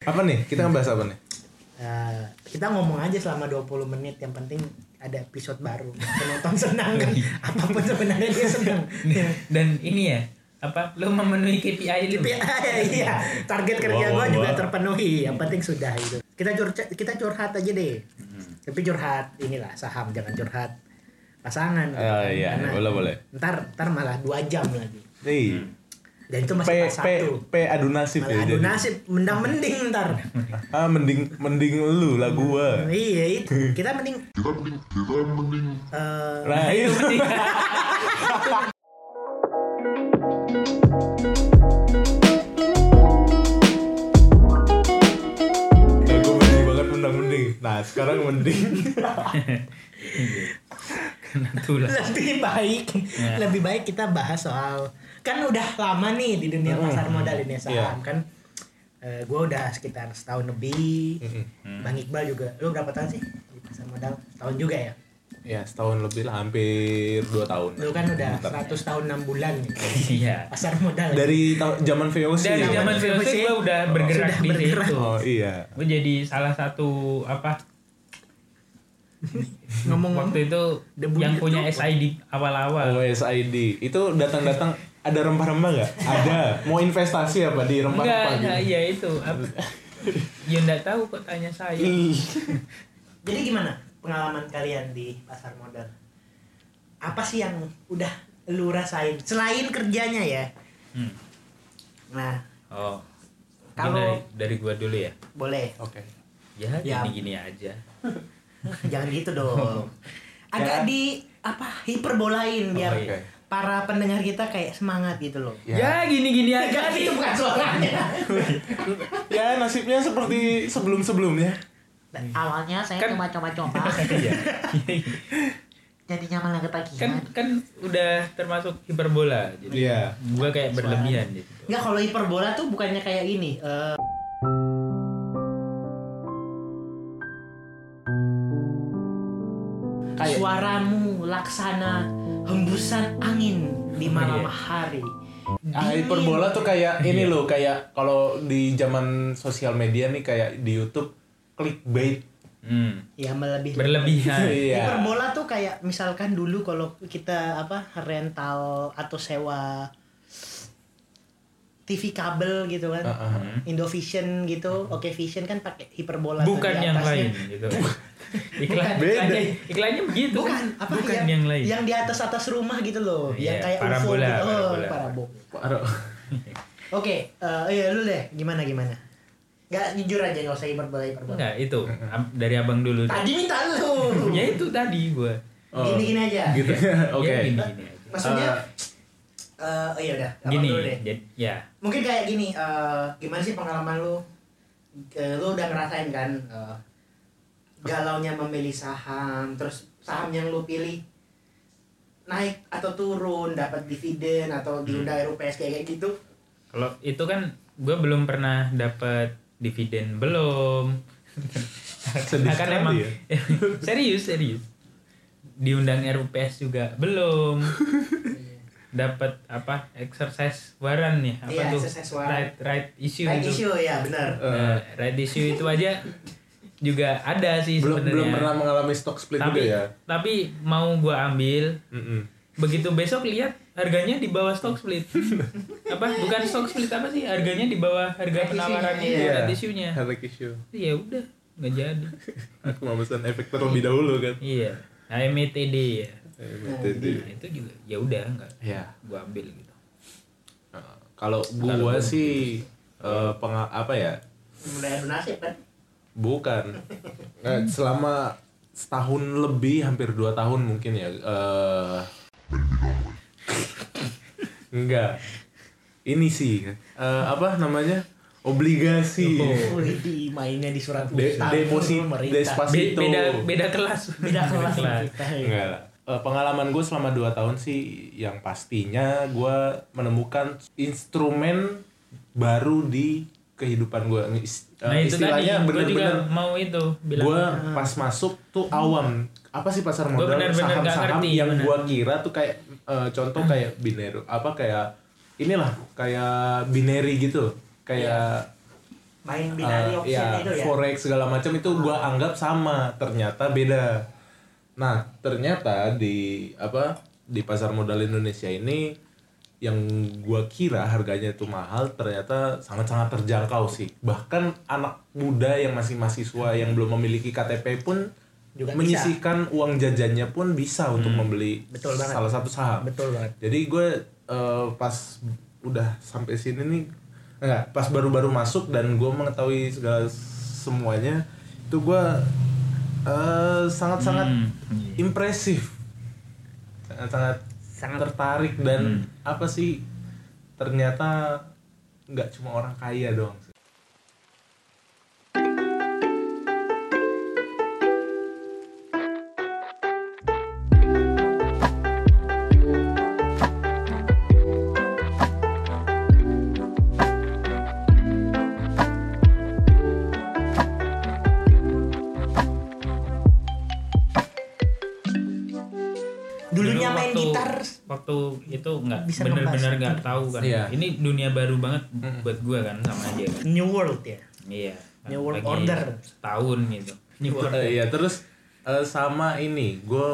Apa nih? Kita ngebahas apa nih? Eh, kita ngomong aja selama 20 menit yang penting ada episode baru penonton senang kan Iya. apapun sebenarnya dia senang Ya. dan ini ya apa lu memenuhi KPI lu iya target kerja Wow, gua wow, juga wow. terpenuhi yang penting sudah itu kita curhat kita curhat aja deh Mm-hmm. tapi curhat inilah saham jangan curhat pasangan gitu Oh kan. iya, Karena boleh boleh. ntar ntar malah dua jam lagi Ih, dan itu P masih P pas satu P adu nasib ya. malah adu jadi. nasib mendang mending ntar Ah mending mending lu lah gua. iya itu kita mending Kita mending, kita mending eh, Nah, itu. Nah, gua mending banget mendang mending. Nah, sekarang mending. Nah, tuh lah lebih baik Ya. lebih baik kita bahas soal kan udah lama nih di dunia Hmm. pasar modal ini saham Iya. kan gue udah sekitar setahun lebih Hmm. bang iqbal juga lu berapa tahun sih di pasar modal tahun juga ya ya, setahun lebih lah, hampir 2 tahun. lu kan udah Bentar. 100 tahun 6 bulan nih. iya pasar modal dari ta- zaman VOC. dari ya? zaman Zaman filsuf gue udah bergerak Sudah di bergerak. situ Oh iya. gue jadi salah satu apa ngomong waktu itu debu Hmm. yang di punya SID Oh, iya. awal-awal OSID itu datang-datang ada rempah-rempah nggak? Ada. Mau investasi apa di enggak rempah-rempah? enggak gitu? iya itu apa ya enggak tahu kok tanya saya Ih. jadi gimana pengalaman kalian di pasar modal apa sih yang udah lu rasain selain kerjanya ya Hmm. nah oh mungkin Kalau- dari dari gue dulu ya boleh Oke. ya Ya. gini-gini aja Jangan gitu dong. Ya. Agak di apa hiperbolain biar Oh, iya. para pendengar kita kayak semangat gitu loh. Ya. ya gini-gini aja Enggak itu bukan iya, suaranya. Ya nasibnya seperti sebelum-sebelumnya. Dan awalnya saya Kan- cuma coba-coba Iya. jadinya malah ketagihan kan kan udah termasuk hiperbola jadi Iya. gue kayak berlebihan gitu Enggak kalau hiperbola tuh bukannya kayak ini. eh, Kayak- Suaramu laksana hembusan angin di malam Iya. hari. Ah, Dingin. hiperbola tuh kayak ini loh, kayak kalau di zaman sosial media nih kayak di YouTube clickbait. hmm. Ya melebih. berlebihan Iya. Hiperbola tuh kayak misalkan dulu kalau kita apa rental atau sewa TV kabel gitu kan. Heeh. Indovision gitu, oke Vision kan pakai hiperbola tuh bukan di yang atasnya. lain gitu iklan Beda. iklannya iklannya begitu Bukan, kan? apa bukan yang lain Yang di atas atas rumah gitu loh, yang Iya, kayak UFO parabola, gitu. Oh, parabola. parabola. Aduh. Oke, eh iya lu deh, gimana gimana? Gak jujur aja nggak usah hiperbola hiperbola. enggak itu ab- dari abang dulu deh. Tadi minta lu. ya itu tadi gue Oh. Gini-gini aja. Gitu. Oke. ya gini-gini aja Maksudnya eh oh iya udah, abang gini dulu deh. jadi ya mungkin kayak gini eh, gimana sih pengalaman lu Eh, lu udah ngerasain kan eh, galaunya memilih saham terus saham yang lu pilih naik atau turun dapat dividen Hmm. atau diundang RUPS kayak kayak gitu kalau itu kan gue belum pernah dapat dividen belum Sedih Nah, kan sekali emang ya. serius serius diundang RUPS juga belum dapat apa exercise waran nih apa Iya, tuh exercise waran. right right Iya, issue naik itu isu ya benar Eh. Nah, right issue itu aja juga ada sih Belum sebenarnya belum pernah mengalami stock split juga tapi ya. tapi mau gua ambil Mm-mm. begitu besok lihat harganya di bawah stock split apa bukan stock split apa sih harganya di bawah harga Right penawaran issue-nya, itu iya. right issue-nya Hal issue. ya udah nggak jadi Aku mau pesan efek terlebih dahulu kan. iya HMTD ya Eh, Nah, jadi- nah, itu juga ya udah nggak Iya. gua ambil gitu Nah, Kalau Kalau gua gua sih eh, penga- apa ya? mulai adu nasib kan Bukan. Nah, selama setahun lebih hampir dua tahun mungkin ya. eh enggak. Ini sih eh, apa namanya? Obligasi. Oh. di mainnya di surat Iya. De- deposit Nah. Be- despacito. beda beda kelas beda kelas sama kita Iya. ya. Enggak lah. Eh, pengalaman gue selama 2 tahun sih yang pastinya gue menemukan instrumen baru di kehidupan gue. nah itu tadi eh, istilahnya gua juga bener-bener mau itu bilang "Ah." gue pas masuk tuh awam apa sih pasar Gua modal benar-benar nggak saham-saham ngerti, Hmm. yang benar. gue kira tuh kayak eh, contoh kayak Iya. binary apa kayak inilah kayak binary gitu kayak main binari eh, option ya, itu ya forex segala macam itu gua Ah. anggap sama ternyata beda nah ternyata di apa di pasar modal Indonesia ini yang gua kira harganya itu mahal ternyata sangat-sangat terjangkau sih bahkan anak muda yang masih mahasiswa yang belum memiliki KTP pun Juga bisa. Hmm. menyisihkan uang jajannya pun bisa untuk membeli Betul banget. salah satu saham Betul banget. jadi gue eh, pas udah sampai sini nih enggak pas baru-baru masuk dan gue mengetahui segala semuanya itu gue eh, sangat-sangat Hmm. iya. impresif sangat-sangat Sangat. tertarik dan apa sih ternyata nggak cuma orang kaya dong Dulunya Dulu main waktu- gitar waktu itu nggak Bisa bener-bener ngebas. nggak tahu kan Iya. ini dunia baru banget buat gue kan sama aja kan New World ya. iya New World Lagi Order. setahun gitu New World Eh, Iya terus eh, sama ini gue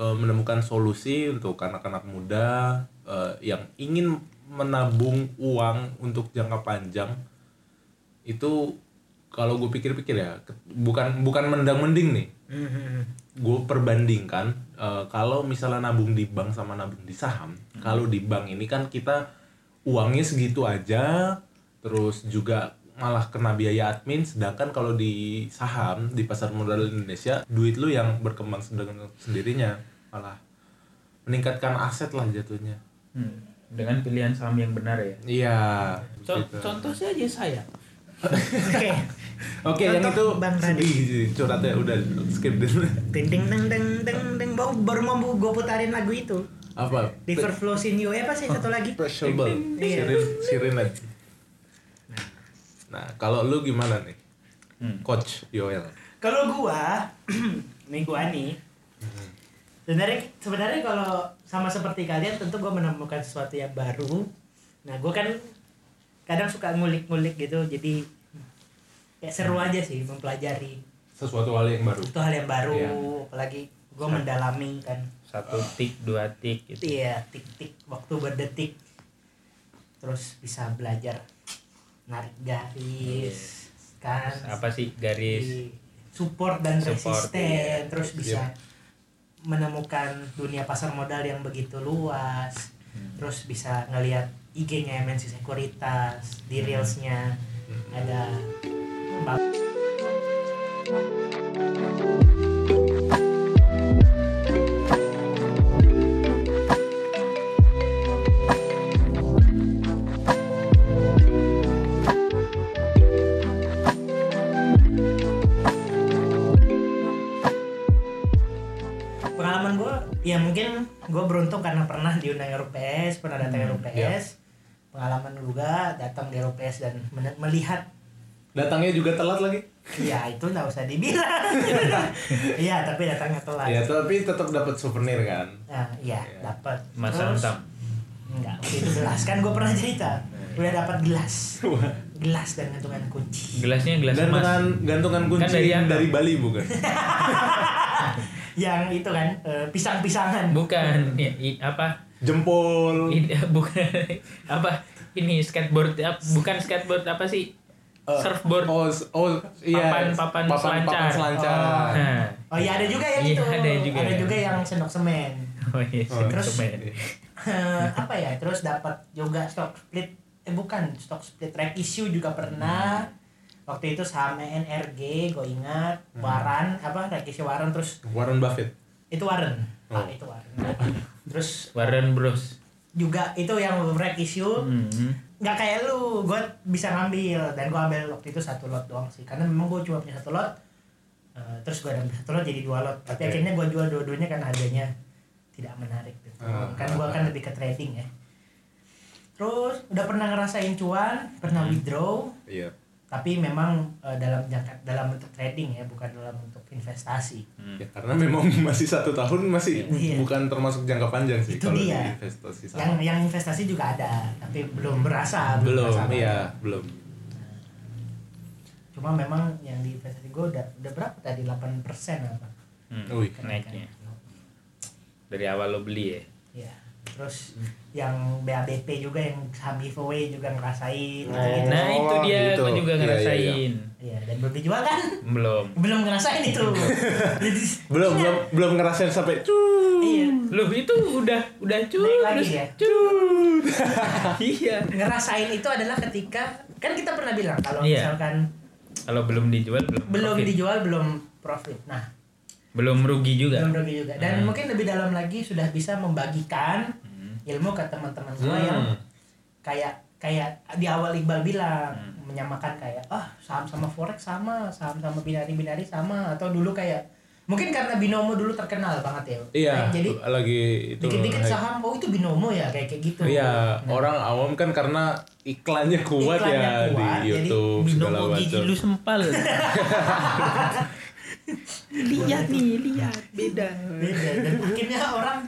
menemukan solusi untuk anak-anak muda eh, yang ingin menabung uang untuk jangka panjang itu kalau gue pikir-pikir ya ke- bukan bukan mendang-mending nih Mm-hmm. gue perbandingkan eh, kalau misalnya nabung di bank sama nabung di saham kalau di bank ini kan kita uangnya segitu aja terus juga malah kena biaya admin sedangkan kalau di saham di pasar modal Indonesia duit lu yang berkembang sedang- sendirinya malah meningkatkan aset lah jatuhnya Hmm, dengan pilihan saham yang benar ya iya Co- gitu. contoh saja saya Oke. oke yang itu contoh Bang Radit. sedih sih, curhatnya udah skip dulu Ding ding ding ding ding ding baru, baru mau gue putarin lagu itu. apa River Flows in You. Eh apa sih satu lagi? Pleasurable, sirin, sirinan. Nah, kalau lu gimana nih, Hmm. Coach Yoel? kalau gua nih gua nih Sebenarnya sebenarnya kalau sama seperti kalian tentu gue menemukan sesuatu yang baru. Nah gue kan kadang suka ngulik-ngulik gitu jadi kayak seru aja sih mempelajari Sesuatu hal yang baru. itu hal yang baru Iya. apalagi gue mendalami kan satu tik dua tik gitu iya tik-tik waktu berdetik terus bisa belajar narik garis kan Iya. apa sih garis di support dan Support, resisten iya. terus bisa menemukan dunia pasar modal yang begitu luas Hmm. terus bisa ngelihat IG-nya MNC Sekuritas Hmm. di reelsnya ada pengalaman gue ya mungkin gue beruntung karena pernah diundang RUPS pernah Hmm, datang RUPS iya. pengalaman juga datang di RUPS dan men- melihat Datangnya juga telat lagi. ya itu nggak usah dibilang iya tapi datangnya telat Ya, tapi tetap dapat souvenir kan. Nah, iya Iya. dapat Mas Terus- Antam. enggak waktu itu gelas kan gue pernah cerita Iya. udah dapat gelas gelas dan gantungan kunci gelasnya gelas emas Gantungan, gantungan kunci Kan dari dari, Antam. Bali bukan? yang itu kan eh, pisang-pisangan bukan ya, i- apa Jempol. Ini, bukan apa ini skateboard ap- bukan skateboard apa sih eh, surfboard Oh, s- oh, iya. Papan-papan papan, papan selancar. selancar. Nah. oh iya ada juga yang Iya, itu ada juga ya. yang sendok semen oh iya Oh, terus terus- Eh, apa ya terus dapat juga stock split eh bukan stock split right issue juga pernah waktu itu saham ENRG gue ingat waran apa right issue waran terus Warren Buffett. itu waran Oh. ah itu waran terus Warren Bros juga itu yang right issue Hmm. nggak kayak lu gue bisa ngambil dan gue ambil waktu itu satu lot doang sih karena memang gue cuma punya satu lot Eh, terus gue ambil satu lot jadi dua lot tapi Oke. akhirnya gue jual dua-duanya karena harganya tidak menarik gitu Ah, kan gue ah, kan lebih ke trading ya terus udah pernah ngerasain cuan pernah withdraw Iya. tapi memang eh, dalam jangka dalam bentuk trading ya bukan dalam bentuk investasi Hmm. Ya, karena memang masih satu tahun masih Iya. bukan termasuk jangka panjang sih Itu kalau di dia. investasi saham. yang yang investasi juga ada tapi belum berasa belum berasa banget. iya belum Nah. cuma memang yang di investasi gue udah udah berapa tadi 8% apa Hmm, Wih, naiknya. Dari awal lo beli ya. ya terus yang BABP juga yang saham giveaway juga ngerasain Nah, gitu. Nah itu dia gitu. gue juga Iya, iya, ngerasain. Iya, dan belum dijual kan Belum. belum ngerasain itu jadi belum belum belum ngerasain sampai cuuu iya Loh itu udah udah cuy. Naik lagi ya? iya. ngerasain itu adalah ketika kan kita pernah bilang kalau Iya. misalkan Kalau belum dijual belum. belum profit. dijual belum profit nah Belum rugi Iya. juga. belum rugi juga dan Hmm. mungkin lebih dalam lagi sudah bisa membagikan Hmm. ilmu ke teman-teman gue Hmm. yang kayak kayak di awal Iqbal bilang Hmm. menyamakan kayak ah saham sama forex sama saham sama binari binari sama atau dulu kayak mungkin karena binomo dulu terkenal banget ya iya Nah, jadi lagi itu dikit-dikit hype. saham oh itu binomo ya kayak kayak gitu Iya, Nah, orang awam kan karena iklannya kuat Iklannya ya kuat, jadi di YouTube segala Binomo gigi macam. lu sempal. lihat nih, lihat beda. beda dan akhirnya orang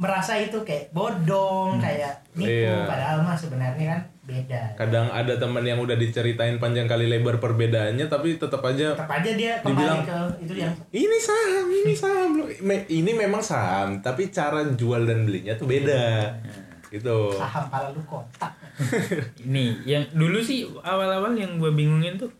merasa itu kayak bodong kayak nipu Hmm. Iya. padahal mah sebenarnya kan beda Kadang ada teman yang udah diceritain panjang kali lebar perbedaannya tapi tetap aja tetap aja dia kembali Dibilang- ke itu yang ini saham, ini saham lu. Me- Ini memang saham, tapi cara jual dan belinya tuh beda. Gitu. Iya. saham pala lu kotak Ini yang dulu sih awal-awal yang gue bingungin tuh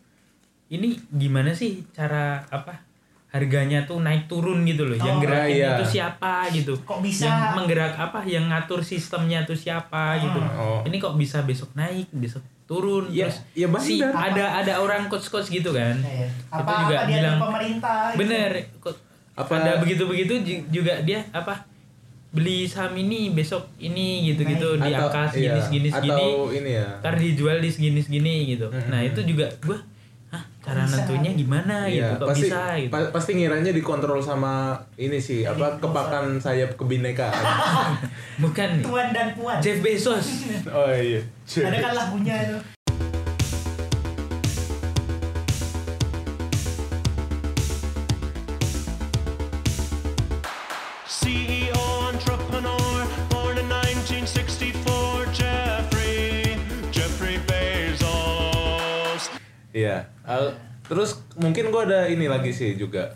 ini gimana sih cara apa harganya tuh naik turun gitu loh yang Oh, gerakin iya. itu siapa gitu Kok bisa? yang menggerak apa yang ngatur sistemnya tuh siapa gitu Oh. ini kok bisa besok naik besok turun Ya, terus ya si bandar. ada ada orang coach-coach gitu kan Iya. Itu apa juga apa dia bilang, bilang, pemerintah gitu. Bener. Kok Apa- ada begitu-begitu ju- juga dia apa beli saham ini besok ini gitu-gitu di Atau- iya, angka segini segini segini Atau ini ya. ntar Kan dijual di segini segini gitu. Mhm. Nah itu juga gua hah cara Bisa. nentuinnya gimana Iya, gitu kok pasti bisa gitu. Iya, pa- pasti ngiranya dikontrol sama ini sih apa kepakan sayap kebinekaan. Bukan nih. tuan dan puan Jeff Bezos. oh iya. ada kan lagunya itu CEO E entrepreneur, born in 1964, Jeffrey, Jeffrey Bezos. Iya. Al- terus mungkin gua ada ini lagi sih juga.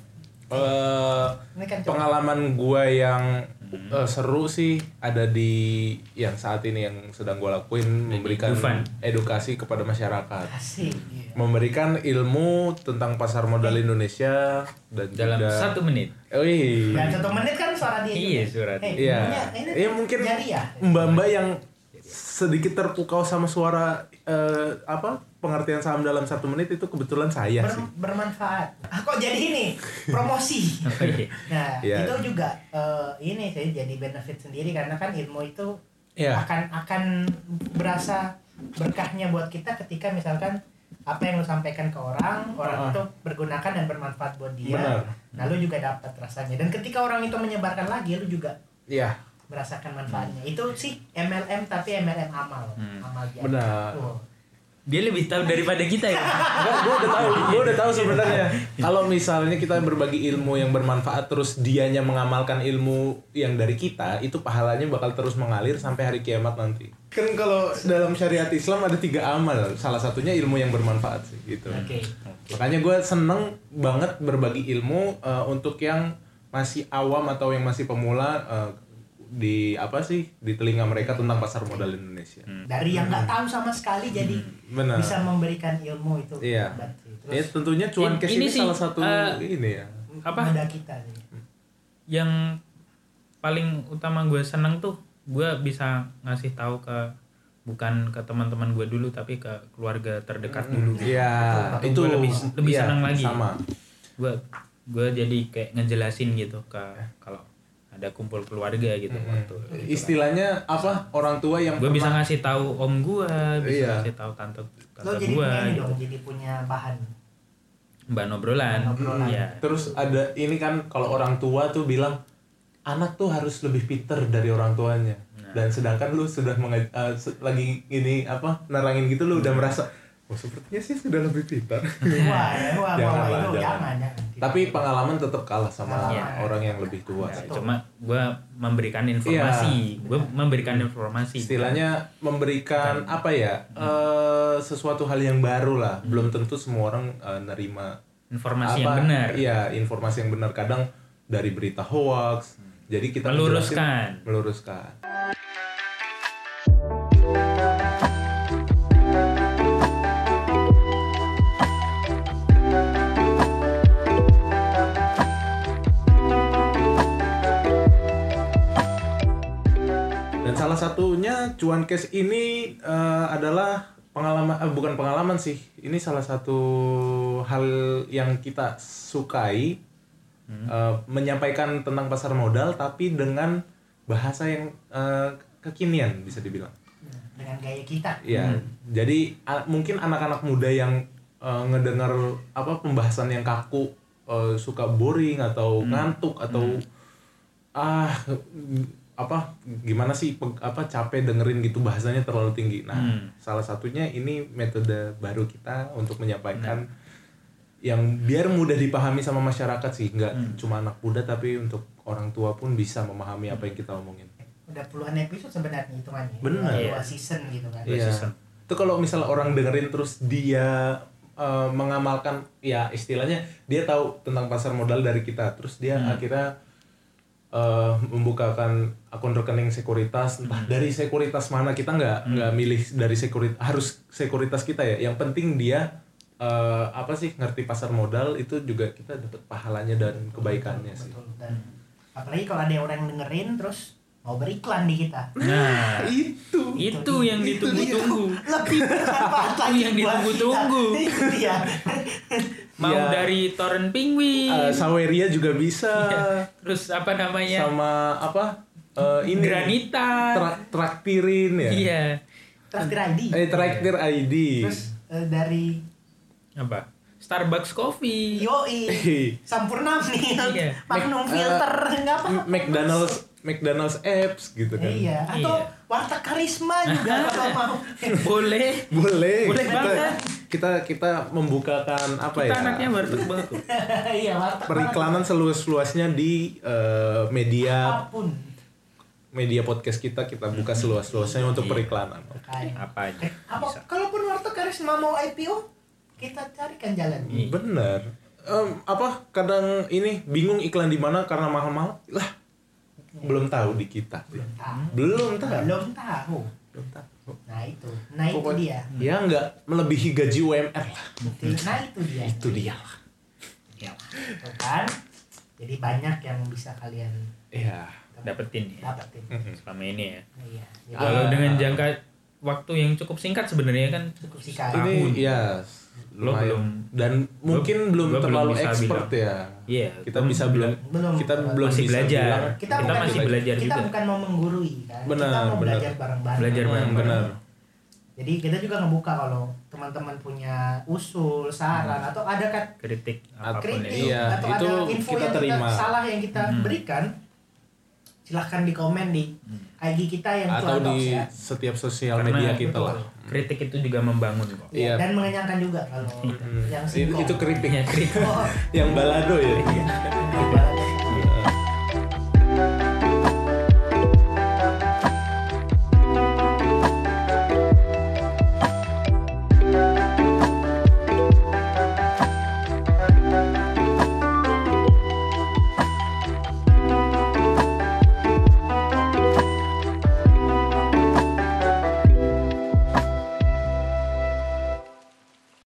Eh, Ini kan cuma- pengalaman gua yang eh, seru sih ada di yang saat ini yang sedang gua lakuin memberikan Dufan. edukasi kepada masyarakat. asik iya. Memberikan ilmu tentang pasar modal Indonesia dan Dalam juga satu menit. Wih. dan satu menit kan suara dia Iya, juga. suara dia. Eh, Iya. punya- ini Iya mungkin jari ya mbak-mbak yang sedikit terpukau sama suara eh, apa pengertian saham dalam satu menit itu kebetulan saya Ber- Iya sih. bermanfaat ah, kok jadi ini promosi Oh, iya. nah Iya. itu juga eh, ini sih jadi benefit sendiri karena kan ilmu itu Iya. akan akan berasa berkahnya buat kita ketika misalkan apa yang lo sampaikan ke orang Ah. orang itu bergunakan dan bermanfaat buat dia Benar. nah lo juga dapat rasanya dan ketika orang itu menyebarkan lagi lo juga Iya, merasakan manfaatnya Hmm. itu sih MLM tapi MLM amal amal dia Oh, benar. Tuh. Dia lebih tahu daripada kita ya. Enggak, gue udah tahu, gue udah tahu sebenarnya. Kalau misalnya kita berbagi ilmu yang bermanfaat, terus dianya mengamalkan ilmu yang dari kita, itu pahalanya bakal terus mengalir sampai hari kiamat nanti. Kan kalau dalam syariat Islam ada tiga amal, salah satunya ilmu yang bermanfaat sih gitu. oke Makanya gue seneng banget berbagi ilmu eh, untuk yang masih awam atau yang masih pemula eh, di apa sih di telinga mereka tentang pasar modal Indonesia. Hmm. dari yang nggak tahu sama sekali jadi Hmm. Benar. bisa memberikan ilmu itu Iya. hebat sih. Ya terus tentunya cuan Ini- cash ini ini, sih, salah satu eh, ini ya. Apa? mudah kita sih yang paling utama gue seneng tuh gue bisa ngasih tahu ke bukan ke teman-teman gue dulu tapi ke keluarga terdekat dulu Iya, itu, itu gua lebih lebih iya, senang lagi Sama. gue gue jadi kayak ngejelasin gitu ke kalau ada kumpul keluarga gitu Mhm. waktu Istilahnya apa? Orang tua yang gue bisa pernah- ngasih tahu om gue bisa Iya. ngasih tahu tante lo tante jadi gue punya ini gitu. dong jadi punya bahan mbak nobrolan Nobrolan. Iya. Terus ada ini kan kalau orang tua tuh bilang anak tuh harus lebih pinter dari orang tuanya. Nah. Dan sedangkan lu sudah mengaj- eh, se- lagi ini apa nerangin gitu Nah. lu udah merasa oh sepertinya sih sudah lebih pintar. wah ya, wah wah, wah Janganlah, itu ya. jangan. jangan jangan Tapi pengalaman tetap kalah sama Iya. orang yang lebih tua. Ya, sih. cuma gue memberikan informasi gue memberikan informasi Iya. Istilahnya memberikan apa ya? Hmm. eh, sesuatu hal yang baru lah. Belum tentu semua orang eh, nerima apa, informasi yang benar Iya, informasi yang benar kadang dari berita hoax. Hmm. Jadi kita Meluruskan. menjelaskan- meluruskan. Dan salah satunya cuan cash ini eh, adalah pengalaman eh, bukan pengalaman sih. Ini salah satu hal yang kita sukai eh, menyampaikan tentang pasar modal tapi dengan bahasa yang eh, kekinian bisa dibilang. dengan gaya kita Iya. Jadi a- mungkin anak-anak muda yang eh, ngedengar apa pembahasan yang kaku eh, suka boring atau ngantuk atau ah mm, apa gimana sih peg- apa capek dengerin gitu bahasanya terlalu tinggi. Nah, Hmm. salah satunya ini metode baru kita untuk menyampaikan yang biar mudah dipahami sama masyarakat sih, nggak cuma anak muda tapi untuk orang tua pun bisa memahami apa yang kita omongin. udah puluhan episode sebenarnya hitungannya Bener. Dua- Iya. dua season gitu kan Dua Iya. season. Itu kalau misalnya orang dengerin terus dia eh, mengamalkan ya istilahnya dia tahu tentang pasar modal dari kita, terus dia akhirnya eh, membukakan akun rekening sekuritas entah dari sekuritas mana kita nggak nggak milih dari sekuritas harus sekuritas kita ya. Yang penting dia eh, apa sih ngerti pasar modal itu juga kita dapat pahalanya dan kebaikannya sih. betul dan apalagi kalau ada orang yang dengerin terus mau beriklan di kita nah Itu itu yang ditunggu-tunggu lebih bermanfaat lagi yang buat kita. ditunggu-tunggu. iya mau Iya. dari torrent penguin eh, Saweria juga bisa terus apa namanya sama apa eh, ini granita Tra- traktirin ya. iya traktir ID Eh traktir ID. terus eh, dari apa Starbucks coffee Yoi Sampurna nih Iya. Magnum Mac- filter nggak apa M- eh, McDonald's McDonald's apps gitu kan. iya atau Iya. warteg karisma juga kalau mau boleh Boleh. Boleh kita, banget. kita kita membukakan apa kita ya? anaknya baru banget tuh. iya warteg Periklanan seluas-luasnya di eh, media apapun media podcast kita kita buka seluas-luasnya Iya. untuk periklanan. Kayak- apa aja Eh, apa bisa kalaupun warteg karisma mau IPO kita carikan jalan Iya. Bener. Em, apa kadang ini bingung iklan di mana karena mahal-mahal lah belum tahu di kita belum tahu belum tahu belum tahu belum tahu nah itu nah itu dia Pokoknya- Ya nggak melebihi gaji UMR lah. nah itu dia Itu dia lah. Tuh kan jadi banyak yang bisa kalian Iya. dapetin ya dapetin Hmm. selama ini ya Ah. Nah, iya jadi Ah, kalau dengan jangka waktu yang cukup singkat sebenarnya kan cukup sikat Ini Tahun. ya Lo lumayan. belum- dan mungkin belum gua belum terlalu bisa expert bilang. ya. Iya, Kita belum- bisa bilang belum. kita belum masih bisa belajar bilang- kita, bukan- masih belajar kita juga bukan mau menggurui kan kita Benar, mau benar. belajar bareng-bareng Belajar Hmm, bareng-bareng. benar. jadi kita juga ngebuka kalau teman-teman punya usul saran Hmm. atau ada kat kritik apapun kritik itu Hmm. Iya, atau itu ada info kita yang terima. kita salah yang kita berikan silahkan di komen di IG kita yang Atau Cuan di Talks ya. setiap sosial Karena- media kita Betul. lah. kritik itu juga membangun kok Iya. dan mengenyangkan juga kalau yang Hmm. Hmm. Itu, singkong. Iya. itu keripik kritik Oh, yang balado ya. yang balado.